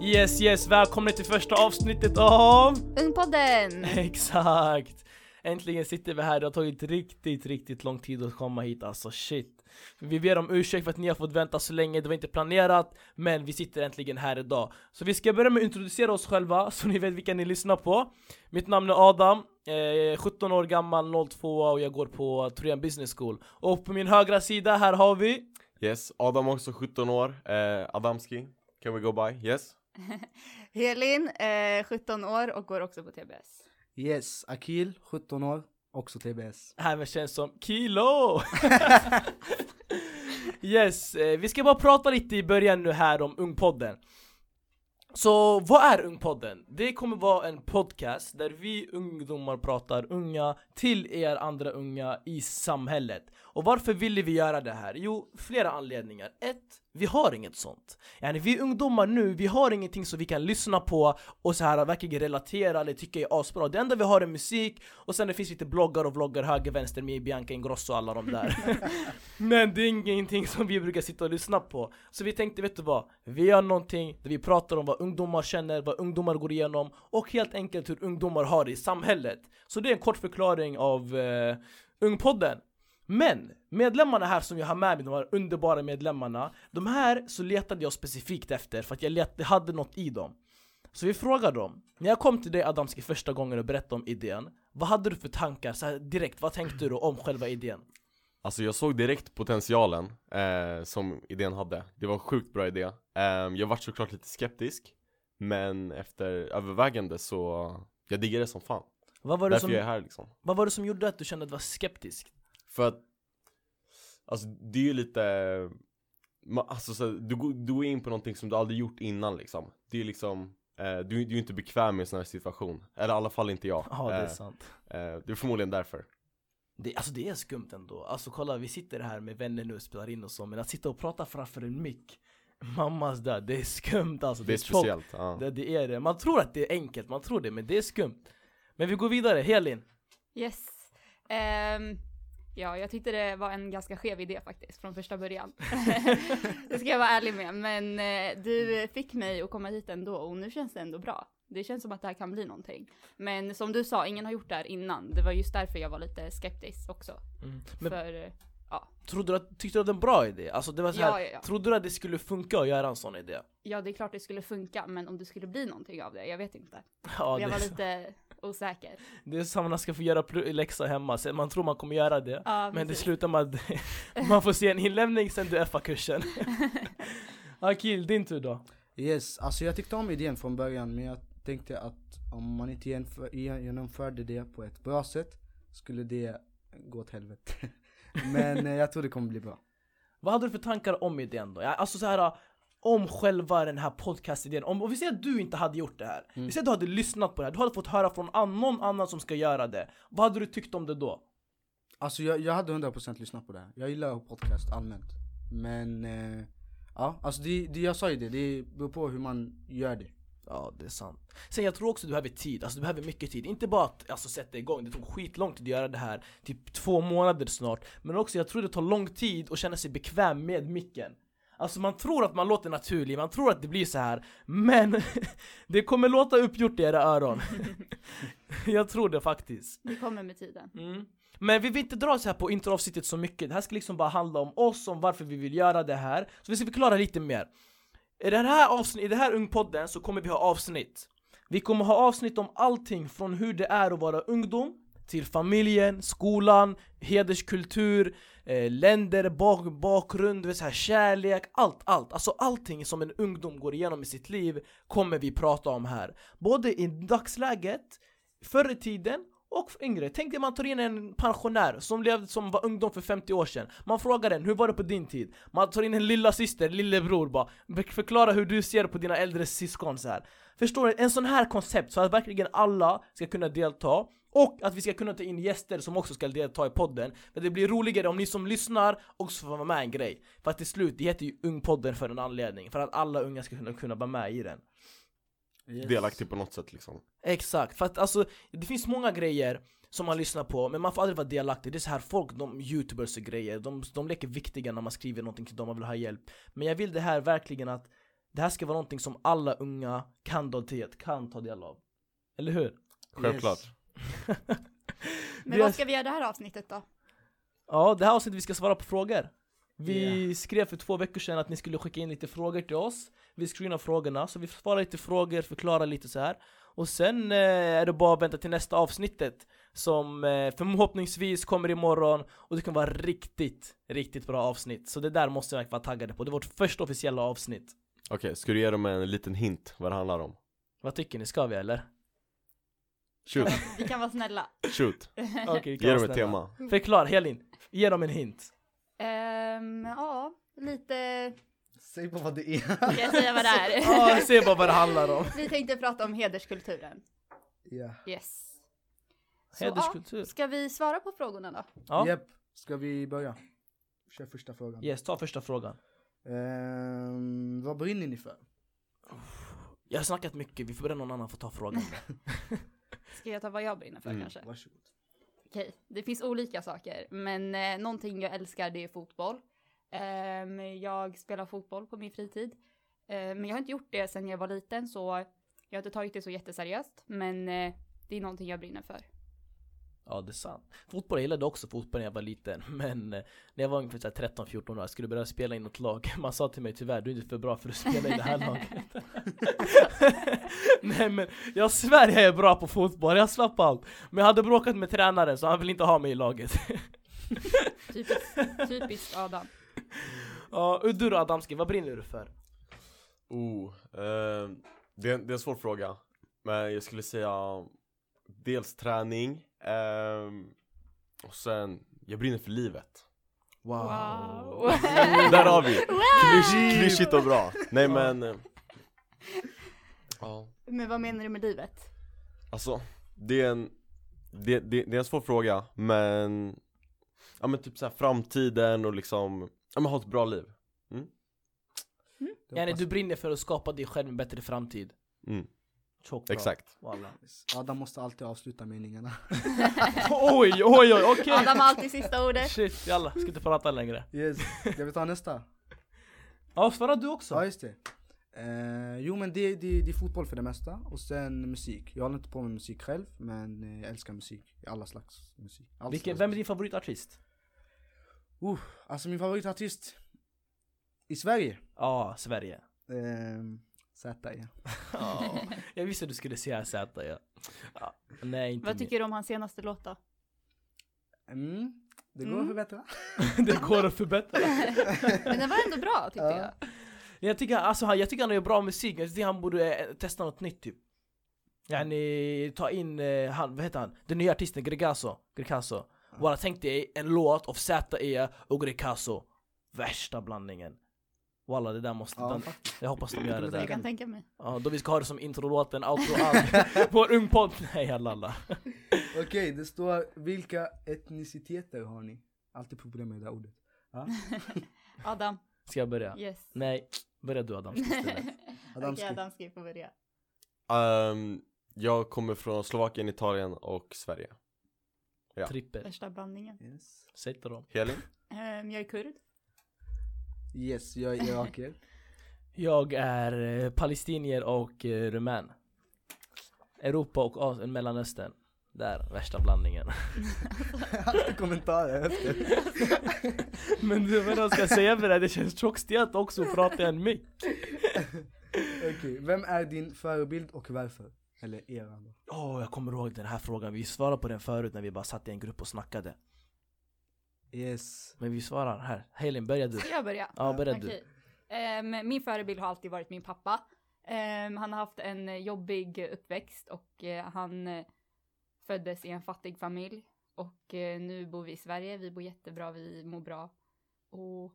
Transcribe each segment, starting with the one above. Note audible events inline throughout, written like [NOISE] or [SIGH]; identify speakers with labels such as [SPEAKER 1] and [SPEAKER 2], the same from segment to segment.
[SPEAKER 1] Yes, yes, välkomna till första avsnittet av... [LAUGHS]
[SPEAKER 2] Ungpodden!
[SPEAKER 1] Exakt! Äntligen sitter vi här, det har tagit riktigt, riktigt lång tid att komma hit alltså, shit. Vi ber om ursäkt för att ni har fått vänta så länge, det var inte planerat, men vi sitter äntligen här idag. Så vi ska börja med att introducera oss själva, så ni vet vilka ni lyssnar på. Mitt namn är Adam, eh, 17 år gammal, 02 och jag går på Trojan Business School. Och på min högra sida, här har vi...
[SPEAKER 3] Yes, Adam också 17 år, eh, Adamski, can we go by? Yes?
[SPEAKER 2] Helin, eh, 17 år och går också på TBS.
[SPEAKER 4] Yes, Akil, 17 år, också TBS.
[SPEAKER 1] Det här men känns som Kilo! [LAUGHS] yes, eh, vi ska bara prata lite i början nu här om Ungpodden. Så vad är Ungpodden? Det kommer vara en podcast där vi ungdomar pratar unga till er andra unga i samhället. Och varför ville vi göra det här? Jo, flera anledningar. Ett, vi har inget sånt. Yani, vi ungdomar nu, vi har ingenting som vi kan lyssna på och så här verkligen relatera eller tycka är asbra. Det enda vi har är musik och sen det finns lite bloggar och vloggar höger, vänster med Bianca Ingrosso och alla de där. Men det är ingenting som vi brukar sitta och lyssna på. Så vi tänkte, vet du vad? Vi gör någonting där vi pratar om vad ungdomar känner, vad ungdomar går igenom och helt enkelt hur ungdomar har det i samhället. Så det är en kort förklaring av eh, Ungpodden. Men medlemmarna här som jag har med mig, de här underbara medlemmarna, de här så letade jag specifikt efter för att jag let- hade något i dem. Så vi frågade dem, när jag kom till dig Adamski första gången och berättade om idén, vad hade du för tankar så här, direkt? Vad tänkte du om själva idén?
[SPEAKER 3] Alltså jag såg direkt potentialen eh, som idén hade. Det var en sjukt bra idé. Eh, jag var såklart lite skeptisk, men efter övervägande så, jag diggar det som fan.
[SPEAKER 1] Vad var, det
[SPEAKER 3] Därför
[SPEAKER 1] som,
[SPEAKER 3] jag är här liksom.
[SPEAKER 1] vad var det som gjorde att du kände att du var skeptisk?
[SPEAKER 3] För att, alltså det är ju lite, ma- alltså så, här, du, går- du går in på någonting som du aldrig gjort innan liksom. Det är liksom, eh, du, du är ju inte bekväm i en sån här situation. Eller i alla fall inte jag.
[SPEAKER 1] Ja, det är
[SPEAKER 3] Eh,
[SPEAKER 1] sant.
[SPEAKER 3] eh, det är förmodligen därför.
[SPEAKER 1] Det, alltså det är skumt ändå. Alltså kolla, vi sitter här med vänner nu och spelar in och så, men att sitta och prata framför en mick, mammas död, det är skumt alltså.
[SPEAKER 3] Det är
[SPEAKER 1] tjockt.
[SPEAKER 3] speciellt. Ja.
[SPEAKER 1] Det, det är det. Man tror att det är enkelt, man tror det, men det är skumt. Men vi går vidare, Helin.
[SPEAKER 2] Yes. Ehm, ja, jag tyckte det var en ganska skev idé faktiskt från första början. [LAUGHS] det ska jag vara ärlig med. Men eh, du fick mig att komma hit ändå och nu känns det ändå bra. Det känns som att det här kan bli någonting. Men som du sa, ingen har gjort det här innan. Det var just därför jag var lite skeptisk också.
[SPEAKER 1] Men
[SPEAKER 2] För, eh,
[SPEAKER 1] trodde du att, tyckte du att det var en bra idé? Alltså det var så här,
[SPEAKER 2] ja, ja, ja.
[SPEAKER 1] trodde du att det skulle funka att göra en sån idé?
[SPEAKER 2] ja, det är klart det skulle funka, men om det skulle bli någonting av det, jag vet inte.
[SPEAKER 1] Ja, det,
[SPEAKER 2] jag var
[SPEAKER 1] är-
[SPEAKER 2] lite
[SPEAKER 1] [LAUGHS]
[SPEAKER 2] osäker.
[SPEAKER 1] det är samma när man ska få göra pl- läxa hemma, så man tror man kommer göra det.
[SPEAKER 2] Ja,
[SPEAKER 1] Men det
[SPEAKER 2] precis.
[SPEAKER 1] slutar med att [LAUGHS] man får se en inlämning sen du
[SPEAKER 2] [LAUGHS]
[SPEAKER 1] FA-kursen. Akil, din tur då.
[SPEAKER 4] Yes, alltså jag tyckte om idén från början men jag tänkte att om man inte genomför, gen- genomförde det på ett bra sätt skulle det gå åt helvete. [LAUGHS] men eh, jag tror det kommer bli bra.
[SPEAKER 1] Vad hade du för tankar om idén då? Ja, Alltså så här om själva den här podcastidén, om, om vi säger att du inte hade gjort det här, vi
[SPEAKER 2] Mm.
[SPEAKER 1] säger att du hade lyssnat på det här, du hade fått höra från an- någon annan som ska göra det, vad hade du tyckt om det då?
[SPEAKER 4] Alltså jag, jag hade 100% lyssnat på det här. Jag gillar podcast allmänt. Men eh, ja, alltså det, det, jag sa ju det, det beror på hur man gör det.
[SPEAKER 1] Ja, det är sant. Sen jag tror också du behöver tid, alltså du behöver mycket tid. Inte bara att alltså, sätta igång, det tog skitlång tid att göra det här, typ två månader snart. Men också jag tror det tar lång tid att känna sig bekväm med micken. Alltså man tror att man låter naturlig, man tror att det blir så här men [LAUGHS] det kommer låta uppgjort i era öron. [LAUGHS] jag tror det faktiskt.
[SPEAKER 2] Det kommer med tiden.
[SPEAKER 1] Mm. Men vi vill inte dra så här på introavsnittet så mycket, det här ska liksom bara handla om oss, om varför vi vill göra det här. Så vi ska förklara lite mer. I den här avsnitt, i det här Ungpodden så kommer vi ha avsnitt. Vi kommer ha avsnitt om allting från hur det är att vara ungdom, till familjen, skolan, hederskultur, eh, länder, bak, bakgrund, du vet så här, kärlek, allt, allt. Alltså allting som en ungdom går igenom i sitt liv kommer vi prata om här. Både i dagsläget, förr i tiden och för yngre. Tänk dig man tar in en pensionär som, levde, som var ungdom för 50 år sedan. Man frågar den, hur var det på din tid? Man tar in en lilla syster, lillebror bara. Be- Förklara hur du ser på dina äldre syskon så här. Förstår du? En sån här koncept så att verkligen alla ska kunna delta. Och att vi ska kunna ta in gäster som också ska delta i podden. Men det blir roligare om ni som lyssnar också får vara med i en grej. För att till slut, det heter ju Ungpodden för en anledning. För att alla unga ska kunna, kunna vara med i den.
[SPEAKER 4] Yes.
[SPEAKER 3] Delaktig på något sätt liksom.
[SPEAKER 1] Exakt, för att alltså det finns många grejer som man lyssnar på men man får aldrig vara delaktig. Det är så här folk, de youtubers och grejer, de, de leker viktiga när man skriver någonting till dem man vill ha hjälp. Men jag vill det här verkligen att det här ska vara någonting som alla unga kan ta del, kan ta del av. Eller hur?
[SPEAKER 3] Självklart.
[SPEAKER 4] Yes.
[SPEAKER 1] Vi
[SPEAKER 2] Men
[SPEAKER 1] har-
[SPEAKER 2] vad ska vi göra det här avsnittet då?
[SPEAKER 1] Ja, det här avsnittet vi ska svara på frågor. Vi
[SPEAKER 4] Yeah.
[SPEAKER 1] skrev för två veckor sedan att ni skulle skicka in lite frågor till oss. Vi screenar frågorna, så vi svarar lite frågor, förklarar lite så här. Och sen eh, är det bara att vänta till nästa avsnittet som eh, förhoppningsvis kommer imorgon och det kan vara riktigt, riktigt bra avsnitt. Så det där måste vi verkligen vara taggade på. Det är vårt första officiella avsnitt.
[SPEAKER 3] Okej, ska du ge dem en liten hint vad det handlar om?
[SPEAKER 1] Vad tycker ni? Ska vi eller?
[SPEAKER 3] Shoot,
[SPEAKER 2] Vi kan vara snälla.
[SPEAKER 3] [LAUGHS] shoot,
[SPEAKER 1] Okej, vi kan
[SPEAKER 3] ge
[SPEAKER 1] vara
[SPEAKER 3] dem ett
[SPEAKER 1] snälla.
[SPEAKER 3] tema
[SPEAKER 1] Förklara, Helin. Ge dem en hint.
[SPEAKER 2] Ehm, ja, lite,
[SPEAKER 4] Säg bara vad det är.
[SPEAKER 2] ska jag säga vad det är?
[SPEAKER 1] Ja, se bara vad det handlar om.
[SPEAKER 2] vi tänkte prata om hederskulturen.
[SPEAKER 4] Ja.
[SPEAKER 2] Yes. Så,
[SPEAKER 1] Hederskultur.
[SPEAKER 2] Ja, ska vi svara på frågorna då?
[SPEAKER 1] Ja.
[SPEAKER 4] Japp, ska vi börja? Kör första frågan.
[SPEAKER 1] Yes, ta första frågan.
[SPEAKER 4] Ehm, vad brinner ni för?
[SPEAKER 1] Jag har snackat mycket, vi får be någon annan få ta frågan.
[SPEAKER 2] Ska jag ta vad jag brinner för
[SPEAKER 3] Mm.
[SPEAKER 2] kanske?
[SPEAKER 4] Varsågod.
[SPEAKER 2] Okej, det finns olika saker, men eh, någonting jag älskar det är fotboll. Ehm, jag spelar fotboll på min fritid, Ehm, men jag har inte gjort det sedan jag var liten så jag har inte tagit det så jätteseriöst, men eh, det är någonting jag brinner för.
[SPEAKER 1] ja, det är sant. Fotboll, jag gillade också fotboll när jag var liten, [LAUGHS] men eh, när jag var ungefär 13-14 år, jag skulle börja spela i något lag. [LAUGHS] Man sa till mig tyvärr, du är inte för bra för att spela i det här laget. [LAUGHS] Nej men, jag svär jag är bra på fotboll, jag svär på allt. Men jag hade bråkat med tränaren så han vill inte ha mig i laget. [LAUGHS]
[SPEAKER 2] Typiskt, typiskt Adam.
[SPEAKER 1] Ja, och du då Adamski, vad brinner du för?
[SPEAKER 3] oh, eh, det, är, det är en svår fråga Men jag skulle säga Dels träning ehm, Och sen, jag brinner för livet
[SPEAKER 2] Wow.
[SPEAKER 3] Där har vi!
[SPEAKER 2] Wow!
[SPEAKER 3] Klysch- Klyschigt och bra Nej men eh, Ja
[SPEAKER 2] [LAUGHS] Men vad menar du med livet?
[SPEAKER 3] Alltså, det är en det, det, det är en svår fråga, men Ja men typ såhär framtiden och liksom Ja men ha ett bra liv
[SPEAKER 4] Det
[SPEAKER 1] Yani
[SPEAKER 4] hoppas-
[SPEAKER 1] du brinner för att skapa dig själv en bättre framtid.
[SPEAKER 3] mm,
[SPEAKER 1] Tjockt bra.
[SPEAKER 3] Exakt
[SPEAKER 1] Wallah.
[SPEAKER 4] Adam måste alltid avsluta meningarna.
[SPEAKER 1] [LAUGHS] Oj, oj, oj, okej!
[SPEAKER 2] Adam har alltid sista ordet.
[SPEAKER 1] Shit, jalla, ska inte prata längre.
[SPEAKER 4] [LAUGHS] Yes. Ska vi ta nästa?
[SPEAKER 1] Ja, svara du
[SPEAKER 4] Ja
[SPEAKER 1] också.
[SPEAKER 4] just det. Eh, jo men det, det, det är fotboll för det mesta och sen musik. Jag håller inte på med musik själv men eh, jag älskar musik. Alla slags musik. All
[SPEAKER 1] Vilken,
[SPEAKER 4] slags
[SPEAKER 1] vem är
[SPEAKER 4] musik.
[SPEAKER 1] din favoritartist?
[SPEAKER 4] Alltså min favoritartist i Sverige?
[SPEAKER 1] Ja, Sverige.
[SPEAKER 4] Uh, Zäta ja.
[SPEAKER 1] Ja, Jag visste du skulle säga Z. Ja. Ja, nej, inte
[SPEAKER 2] Vad
[SPEAKER 1] min.
[SPEAKER 2] tycker du om hans senaste låt då?
[SPEAKER 4] Mm. Det går
[SPEAKER 2] Mm.
[SPEAKER 4] att förbättra.
[SPEAKER 1] Det går att förbättra.
[SPEAKER 2] Men den var ändå bra tyckte
[SPEAKER 4] Ja.
[SPEAKER 2] jag.
[SPEAKER 1] Jag tycker, alltså, han- jag tycker han gör bra musik, jag tycker han borde eh, testa något nytt typ. Yani, ta in, eh, han, vad heter han? Den nya artisten Gregasso. Gregasso. Bara tänk dig en låt av Z.E och Gregasso. Värsta blandningen. Walla det där måste,
[SPEAKER 4] Ja,
[SPEAKER 1] den, jag hoppas de gör det
[SPEAKER 2] Jag
[SPEAKER 1] där.
[SPEAKER 2] kan tänka mig.
[SPEAKER 1] Ja, då vi ska ha det som introlåten, outro, allt. Vår ungpodd. Nej, jalla.
[SPEAKER 4] Okej, det står vilka etniciteter har ni? Alltid problem med det där ordet.
[SPEAKER 2] [LAUGHS] Adam,
[SPEAKER 1] Ska jag börja?
[SPEAKER 2] yes.
[SPEAKER 1] Nej, börja du Adam.
[SPEAKER 2] [LAUGHS]
[SPEAKER 4] Adam
[SPEAKER 2] Okej
[SPEAKER 4] ska-
[SPEAKER 2] Adam ska ju få börja.
[SPEAKER 3] Ehm, Jag kommer från Slovakien, Italien och Sverige Ja.
[SPEAKER 1] Trippel.
[SPEAKER 2] Värsta blandningen.
[SPEAKER 4] Yes.
[SPEAKER 1] Säg till dem.
[SPEAKER 3] Helin?
[SPEAKER 2] Ehm, jag är kurd.
[SPEAKER 4] Yes, jag
[SPEAKER 1] [LAUGHS]
[SPEAKER 4] är iraker.
[SPEAKER 1] Jag är eh, palestinier och eh, rumän. Europa och As- Mellanöstern. Där, värsta blandningen. [LAUGHS] Alltså.
[SPEAKER 4] Alltid kommentarer efter.
[SPEAKER 1] Men du, vad jag ska säga för det? här? Det känns tjockstelt också att prata i en mick.
[SPEAKER 4] Okej, vem är din förebild och varför? Eller era då?
[SPEAKER 1] Åh, jag kommer ihåg den här frågan. Vi svarade på den förut när vi bara satt i en grupp och snackade. [LAUGHS]
[SPEAKER 4] Yes.
[SPEAKER 1] Men vi svarar här. Helin, börja du.
[SPEAKER 2] Ska jag börja?
[SPEAKER 1] Ja, börja du.
[SPEAKER 2] Okej. Ehm, min förebild har alltid varit min pappa. Ehm, han har haft en jobbig uppväxt och eh, han eh, föddes i en fattig familj. Och eh, nu bor vi i Sverige, vi bor jättebra, vi mår bra. Och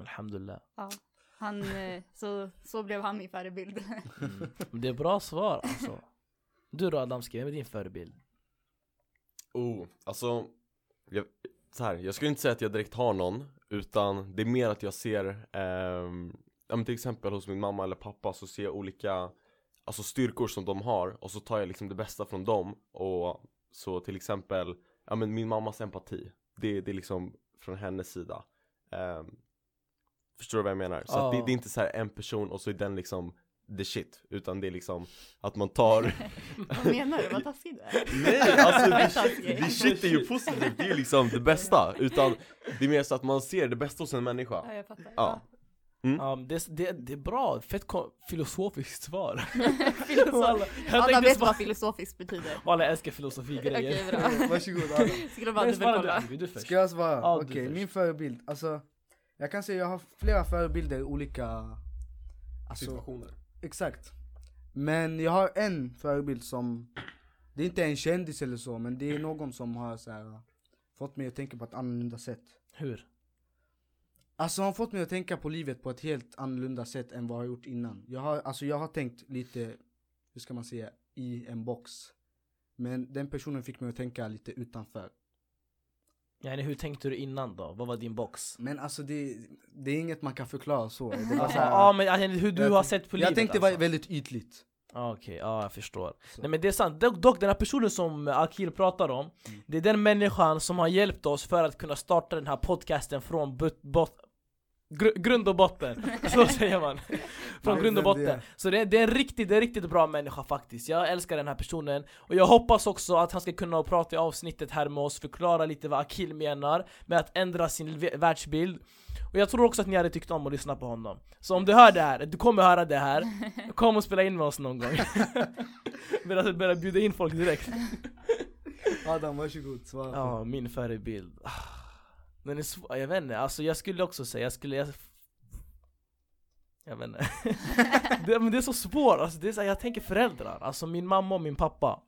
[SPEAKER 1] Alhamdulillah.
[SPEAKER 2] ja, han, eh, så, så blev han min förebild. [LAUGHS]
[SPEAKER 1] Mm. Men Det är bra svar alltså. Du då Adamski, vem är din förebild?
[SPEAKER 4] Mm.
[SPEAKER 3] Oh, alltså jag, så här, jag skulle inte säga att jag direkt har någon Utan det är mer att jag ser ehm, ja, men Till exempel hos min mamma eller pappa så ser jag olika Alltså styrkor som de har och så tar jag liksom det bästa från dem Och så till exempel Ja men min mammas empati Det, det är liksom från hennes sida Ehm, Förstår du vad jag menar? Så
[SPEAKER 1] Ja.
[SPEAKER 3] att det, det är inte så här en person och så är den liksom the shit, utan det är liksom att man tar
[SPEAKER 2] Vad menar du? Vad taskig du är.
[SPEAKER 3] Nej, [LAUGHS] alltså
[SPEAKER 2] Vad
[SPEAKER 3] det,
[SPEAKER 2] taskig.
[SPEAKER 3] det shit är ju positivt, det är ju liksom det bästa Utan det är mer så att man ser det bästa hos en människa
[SPEAKER 2] Ja, jag fattar.
[SPEAKER 3] Ja.
[SPEAKER 1] Um, det, det, det är bra, fett ko- filosofiskt svar.
[SPEAKER 4] [LAUGHS]
[SPEAKER 2] Filosof.
[SPEAKER 1] Walla, jag
[SPEAKER 2] Adam
[SPEAKER 1] tänkte
[SPEAKER 2] vet
[SPEAKER 1] svara,
[SPEAKER 2] vad filosofiskt betyder.
[SPEAKER 1] walla jag älskar
[SPEAKER 2] Okej,
[SPEAKER 1] filosofigrejer.
[SPEAKER 2] bra.
[SPEAKER 4] Varsågod Adam.
[SPEAKER 2] Skulle bara
[SPEAKER 1] Nej, svara du
[SPEAKER 2] dubbelkolla.
[SPEAKER 1] Abby, du först.
[SPEAKER 4] Ska jag svara?
[SPEAKER 1] Ja, du
[SPEAKER 4] Okej,
[SPEAKER 1] först.
[SPEAKER 4] min förebild, alltså Jag kan säga jag har flera förebilder i olika alltså, Exakt Men jag har en förebild som Det är inte en kändis eller så, men det är någon som har så här, Fått mig att tänka på ett annorlunda sätt
[SPEAKER 1] Hur?
[SPEAKER 4] Alltså hon har fått mig att tänka på livet på ett helt annorlunda sätt än vad jag har gjort innan. Jag har, alltså jag har tänkt lite, hur ska man säga, i en box. Men den personen fick mig att tänka lite utanför.
[SPEAKER 1] Yani, hur tänkte du innan då? Vad var din box?
[SPEAKER 4] Men alltså det, det är inget man kan förklara så. Det
[SPEAKER 1] [LAUGHS] Ja
[SPEAKER 4] var så här,
[SPEAKER 1] ah, men yani, hur du
[SPEAKER 4] Mm. jag
[SPEAKER 1] har
[SPEAKER 4] tänk-
[SPEAKER 1] sett på livet
[SPEAKER 4] jag tänkte
[SPEAKER 1] alltså.
[SPEAKER 4] var väldigt ytligt.
[SPEAKER 1] Ah, Okej, ja jag förstår.
[SPEAKER 4] Så.
[SPEAKER 1] Nej men det är sant, dock, dock den här personen som Akil pratar om
[SPEAKER 4] Mm.
[SPEAKER 1] Det är den människan som har hjälpt oss för att kunna starta den här podcasten från but, bot, gr- grund och botten
[SPEAKER 2] [LAUGHS]
[SPEAKER 1] Så säger man, från
[SPEAKER 4] Nej,
[SPEAKER 1] grund och
[SPEAKER 4] men det-
[SPEAKER 1] botten Så det är, det, är en riktigt, det är en riktigt bra människa faktiskt, jag älskar den här personen Och jag hoppas också att han ska kunna prata i avsnittet här med oss, förklara lite vad Akil menar Med att ändra sin v- världsbild och jag tror också att ni hade tyckt om att lyssna på honom Så om du hör det här, du kommer höra det här Kom och spela in med oss någon gång Börja, börja bjuda in folk direkt
[SPEAKER 4] Adam varsågod, svara.
[SPEAKER 1] Ja, min förebild Ah, Den är svår, jag vet inte, alltså jag skulle också säga, jag skulle Jag, jag vet inte [LAUGHS] det, men det är så svårt, alltså, det är så, här, jag tänker föräldrar, alltså min mamma och min pappa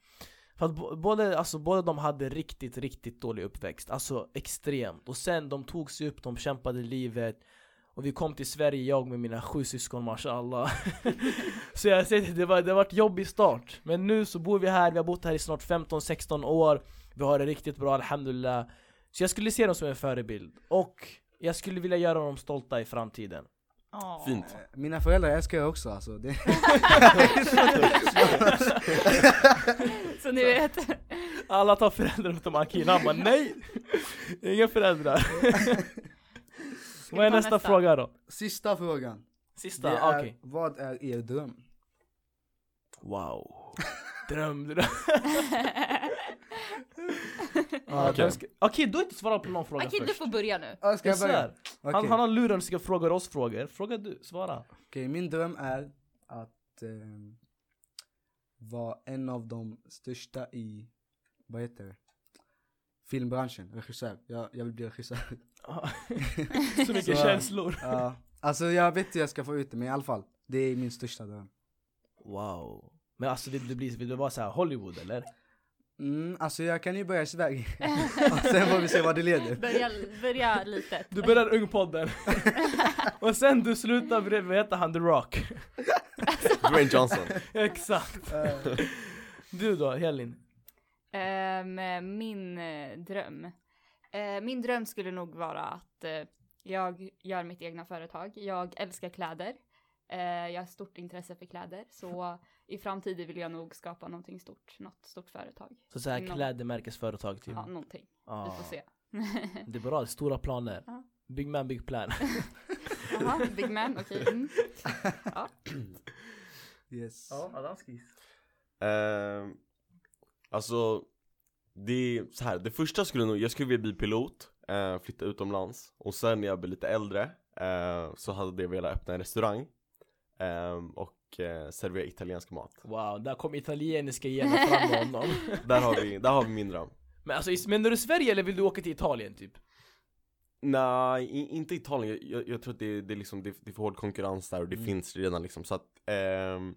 [SPEAKER 1] för att bo- både, alltså, båda de hade riktigt, riktigt dålig uppväxt, alltså extremt Och sen de tog sig upp, de kämpade livet Och vi kom till Sverige, jag med mina sju syskon, mashallah [LAUGHS] Så jag säger det, det var, det var ett jobbig start Men nu så bor vi här, vi har bott här i snart 15-16 år Vi har det riktigt bra, alhamdulillah Så jag skulle se dem som en förebild Och jag skulle vilja göra dem stolta i framtiden
[SPEAKER 2] Ja.
[SPEAKER 3] Fint
[SPEAKER 4] Mina föräldrar älskar jag också alltså. Det,
[SPEAKER 2] [LAUGHS] Så ni vet.
[SPEAKER 1] Alla tar föräldrar utom Akil, han bara nej! Inga föräldrar
[SPEAKER 2] Ska vi
[SPEAKER 1] Vad är
[SPEAKER 2] ta
[SPEAKER 1] nästa, fråga då?
[SPEAKER 4] [LAUGHS] sista frågan.
[SPEAKER 1] Sista, Ah,
[SPEAKER 4] Det
[SPEAKER 1] okej
[SPEAKER 4] är, Vad är er dröm?
[SPEAKER 1] Wow Dröm, dröm
[SPEAKER 4] Ja,
[SPEAKER 1] Okej,
[SPEAKER 3] Okej.
[SPEAKER 1] du har inte svarat på någon fråga
[SPEAKER 2] Okej, du
[SPEAKER 1] först
[SPEAKER 2] får börja nu.
[SPEAKER 4] Ah, ska
[SPEAKER 1] Det är
[SPEAKER 4] jag
[SPEAKER 1] så
[SPEAKER 4] börja?
[SPEAKER 1] här.
[SPEAKER 4] Okej,
[SPEAKER 1] Han, han har luren och frågar oss frågor, fråga du, svara [LAUGHS]
[SPEAKER 4] Okej, eh, min dröm är att ehm, vara en av de största i, vad heter det? Filmbranschen, regissör. Jag, jag vill
[SPEAKER 1] [LAUGHS]
[SPEAKER 4] bli regissör.
[SPEAKER 1] Så mycket
[SPEAKER 4] Så.
[SPEAKER 1] känslor
[SPEAKER 4] Ja, alltså jag vet hur jag ska få ut det, men i alla fall. Det är min största dröm.
[SPEAKER 1] Wow Men alltså vill du bli, vill du vara såhär Hollywood eller?
[SPEAKER 4] Mm, alltså jag kan ju börja i Sverige.
[SPEAKER 1] [LAUGHS]
[SPEAKER 4] Och sen får vi se vad det leder.
[SPEAKER 2] Börja, börja litet.
[SPEAKER 1] Du börjar Ungpodden [LAUGHS] Och sen du slutar bredvid, vad heter han, The Rock? [LAUGHS]
[SPEAKER 3] Dwayne Johnson
[SPEAKER 1] Exakt
[SPEAKER 4] Eh,
[SPEAKER 1] Du då, Helin?
[SPEAKER 2] Ehm, min eh, dröm. Eh, min dröm skulle nog vara att eh, jag gör mitt egna företag. Jag älskar kläder. Eh, jag har stort intresse för kläder. Så i framtiden vill jag nog skapa någonting stort. Något stort företag.
[SPEAKER 1] Så såhär
[SPEAKER 2] Inom-
[SPEAKER 1] klädmärkesföretag typ?
[SPEAKER 2] Ja, någonting. Vi
[SPEAKER 1] Ah.
[SPEAKER 2] får se.
[SPEAKER 1] Det är bra, det är stora planer.
[SPEAKER 2] Ja.
[SPEAKER 1] Big man, big plan. [LAUGHS]
[SPEAKER 2] Jaha, big man, okej. Mm.
[SPEAKER 4] yes.
[SPEAKER 1] Adamskis.
[SPEAKER 3] Eh, alltså, det är så här. det första skulle jag nog, jag skulle vilja bli pilot, eh, flytta utomlands och sen när jag blir lite äldre eh, så hade jag velat öppna en restaurang eh, och eh, servera italiensk mat.
[SPEAKER 1] Wow, där kom italieniska gener fram med
[SPEAKER 2] [LAUGHS]
[SPEAKER 1] honom.
[SPEAKER 3] Där har vi, där har vi min dröm.
[SPEAKER 1] Men alltså, is- menar du Sverige eller vill du åka till Italien typ?
[SPEAKER 3] Nej, i- inte Italien. Jag, jag, jag tror att det, det, är liksom, det, det är för hård konkurrens där och det
[SPEAKER 1] Mm.
[SPEAKER 3] finns redan liksom. Så att, ehm,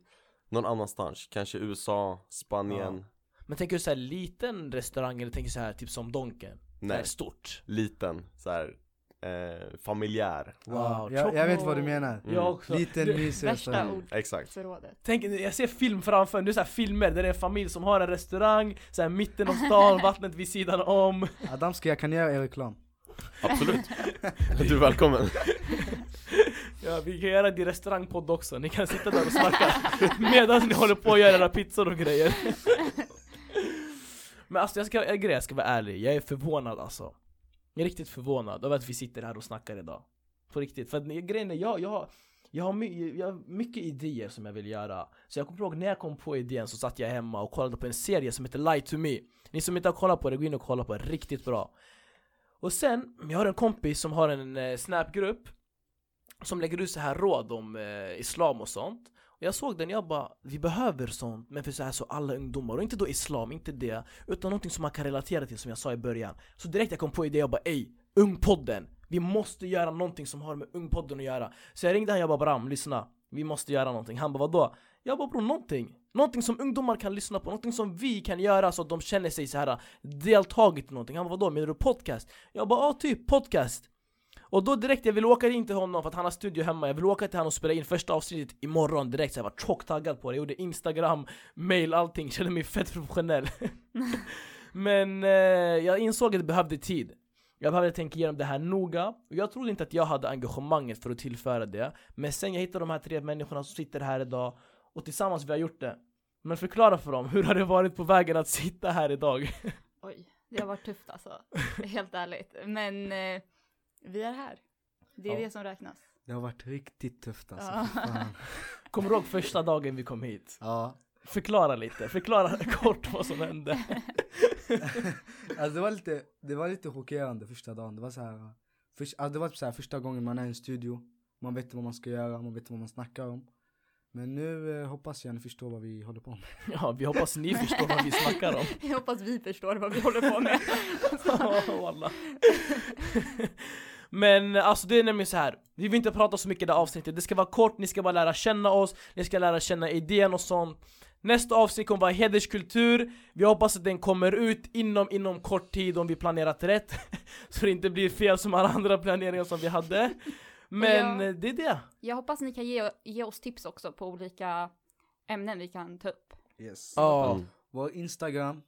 [SPEAKER 3] någon annanstans, kanske USA, Spanien.
[SPEAKER 1] Men tänker du så här liten restaurang eller tänker du så här typ som Donken? Det här
[SPEAKER 3] Nej,
[SPEAKER 1] är stort.
[SPEAKER 3] liten, så här, eh, familjär.
[SPEAKER 4] Ja,
[SPEAKER 1] Wow,
[SPEAKER 4] jag, jag vet vad du
[SPEAKER 2] Chocobo.
[SPEAKER 4] menar.
[SPEAKER 3] Mm.
[SPEAKER 1] Jag också.
[SPEAKER 4] Liten
[SPEAKER 1] Det-
[SPEAKER 4] mysig
[SPEAKER 2] Värsta
[SPEAKER 4] restaurang.
[SPEAKER 1] [LAUGHS]
[SPEAKER 3] Exakt.
[SPEAKER 2] ordförrådet.
[SPEAKER 1] Tänk, jag ser film framför mig, det är så här filmer där det är en familj som har en restaurang, så här mitten av [LAUGHS] stan, vattnet vid sidan om.
[SPEAKER 4] Adamski, jag kan göra er reklam.
[SPEAKER 1] [LAUGHS]
[SPEAKER 3] Absolut. Du är välkommen.
[SPEAKER 1] Ja, vi kan göra det i restaurangpodd också, ni kan sitta där och snacka [LAUGHS] medan ni håller på att göra era pizzor och grejer [LAUGHS] Men alltså jag ska, en grej, jag ska vara ärlig, jag är förvånad alltså Jag är riktigt förvånad över att vi sitter här och snackar idag På riktigt. För att ni- grejen är, jag, jag, har- jag, har my, jag har mycket idéer som jag vill göra. Så jag kommer ihåg när jag kom på idén så satt jag hemma och kollade på en serie som heter Lie to me. Ni som inte har kollat på det, gå in och kolla på det. Riktigt bra. Och sen, jag har en kompis som har en eh, snapgrupp som lägger ut så här råd om eh, islam och sånt. Och jag såg den, jag bara vi behöver sånt men för så här så alla ungdomar och inte då islam, inte det utan någonting som man kan relatera till som jag sa i början. Så direkt jag kom på idén, jag bara ey, Ungpodden! Vi måste göra någonting som har med Ungpodden att göra. Så jag ringde han, jag bara Bram, lyssna. Vi måste göra någonting. Han bara vadå? Jag bara bror, någonting. Någonting som ungdomar kan lyssna på, någonting som vi kan göra så att de känner sig så här eh, deltagit i någonting. Han bara vadå, menar du podcast? Jag bara ja, typ podcast. Och då direkt, jag vill åka in till honom för att han har studio hemma, jag vill åka till honom och spela in första avsnittet imorgon direkt så jag var tjockt taggad på det, jag gjorde instagram, mail, allting, kände mig fett professionell [LAUGHS] Men eh, jag insåg att det behövde tid Jag behövde tänka igenom det här noga, och jag trodde inte att jag hade engagemanget för att tillföra det Men sen jag hittade de här tre människorna som sitter här idag, och tillsammans vi har gjort det Men förklara för dem, hur har det varit på vägen att sitta här idag?
[SPEAKER 2] Oj, det har varit tufft alltså. Helt ärligt. Men eh, vi är här. Det är
[SPEAKER 1] Ja.
[SPEAKER 2] det som räknas.
[SPEAKER 4] Det har varit riktigt tufft alltså.
[SPEAKER 2] Ja.
[SPEAKER 4] fy fan.
[SPEAKER 1] Kommer du ihåg första dagen vi kom hit?
[SPEAKER 4] ja.
[SPEAKER 1] Förklara lite, förklara [LAUGHS] kort vad som hände
[SPEAKER 4] Alltså det var lite, det var lite chockerande första dagen. Det var så här, först, alltså det var typ så här första gången man är i en studio. Man vet vad man ska göra, man vet vad man snackar om. Men nu eh, hoppas jag ni förstår vad vi håller på med.
[SPEAKER 1] Ja, vi hoppas ni förstår vad vi snackar om. [LAUGHS]
[SPEAKER 2] Jag hoppas vi förstår vad vi håller på med.
[SPEAKER 1] Ja, wallah. Men alltså det är nämligen så här. vi vill inte prata så mycket i det här avsnittet, det ska vara kort, ni ska bara lära känna oss, ni ska lära känna idén och sånt. Nästa avsnitt kommer vara hederskultur, vi hoppas att den kommer ut inom, inom kort tid om vi planerat rätt. [LAUGHS] Så det inte blir fel som alla andra planeringar som vi hade. Men
[SPEAKER 2] Ja.
[SPEAKER 1] eh, det är det.
[SPEAKER 2] Jag hoppas ni kan ge, ge oss tips också på olika ämnen vi kan ta upp.
[SPEAKER 4] Yes.
[SPEAKER 1] Ja.
[SPEAKER 3] Mm.
[SPEAKER 4] Vår Instagram,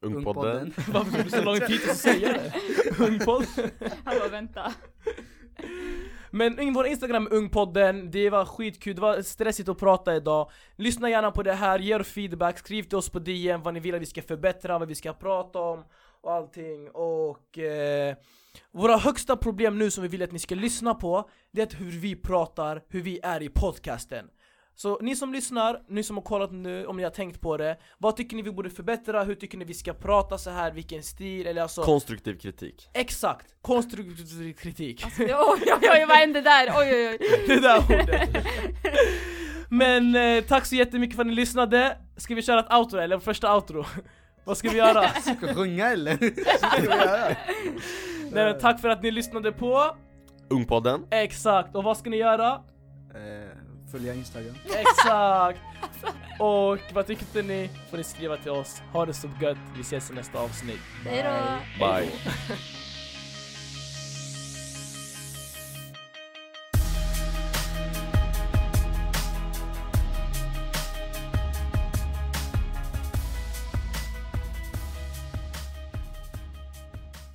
[SPEAKER 3] Ungpodden.
[SPEAKER 1] Varför tog det så lång tid att säga det? Ungpodd.
[SPEAKER 2] Hallå vänta.
[SPEAKER 1] Men in- vår Instagram är ungpodden, det var skitkul, det var stressigt att prata idag Lyssna gärna på det här, ge er feedback, skriv till oss på DM vad ni vill att vi ska förbättra, vad vi ska prata om och allting och eh, Våra högsta problem nu som vi vill att ni ska lyssna på Det är att hur vi pratar, hur vi är i podcasten så ni som lyssnar, ni som har kollat nu, om ni har tänkt på det Vad tycker ni vi borde förbättra? Hur tycker ni vi ska prata så här? Vilken stil? Eller alltså
[SPEAKER 3] Konstruktiv kritik.
[SPEAKER 1] Exakt! Konstruktiv kritik
[SPEAKER 2] Alltså, oj, oj, oj, vad hände där? Oj, oj, oj.
[SPEAKER 1] [LAUGHS] det där ordet Men eh, tack så jättemycket för att ni lyssnade Ska vi köra ett outro eller första outro? [LAUGHS] Vad ska vi göra?
[SPEAKER 4] Ska jag [LAUGHS] sjunga eller? Så ska vi göra.
[SPEAKER 1] Nej men tack för att ni lyssnade på
[SPEAKER 3] Ungpodden.
[SPEAKER 1] Exakt, och vad ska ni göra?
[SPEAKER 4] Eh, Följa Instagram.
[SPEAKER 1] Exakt! Och vad tyckte ni? Får ni skriva till oss, ha det så gött, vi ses i nästa avsnitt
[SPEAKER 2] Hej då.
[SPEAKER 3] Bye.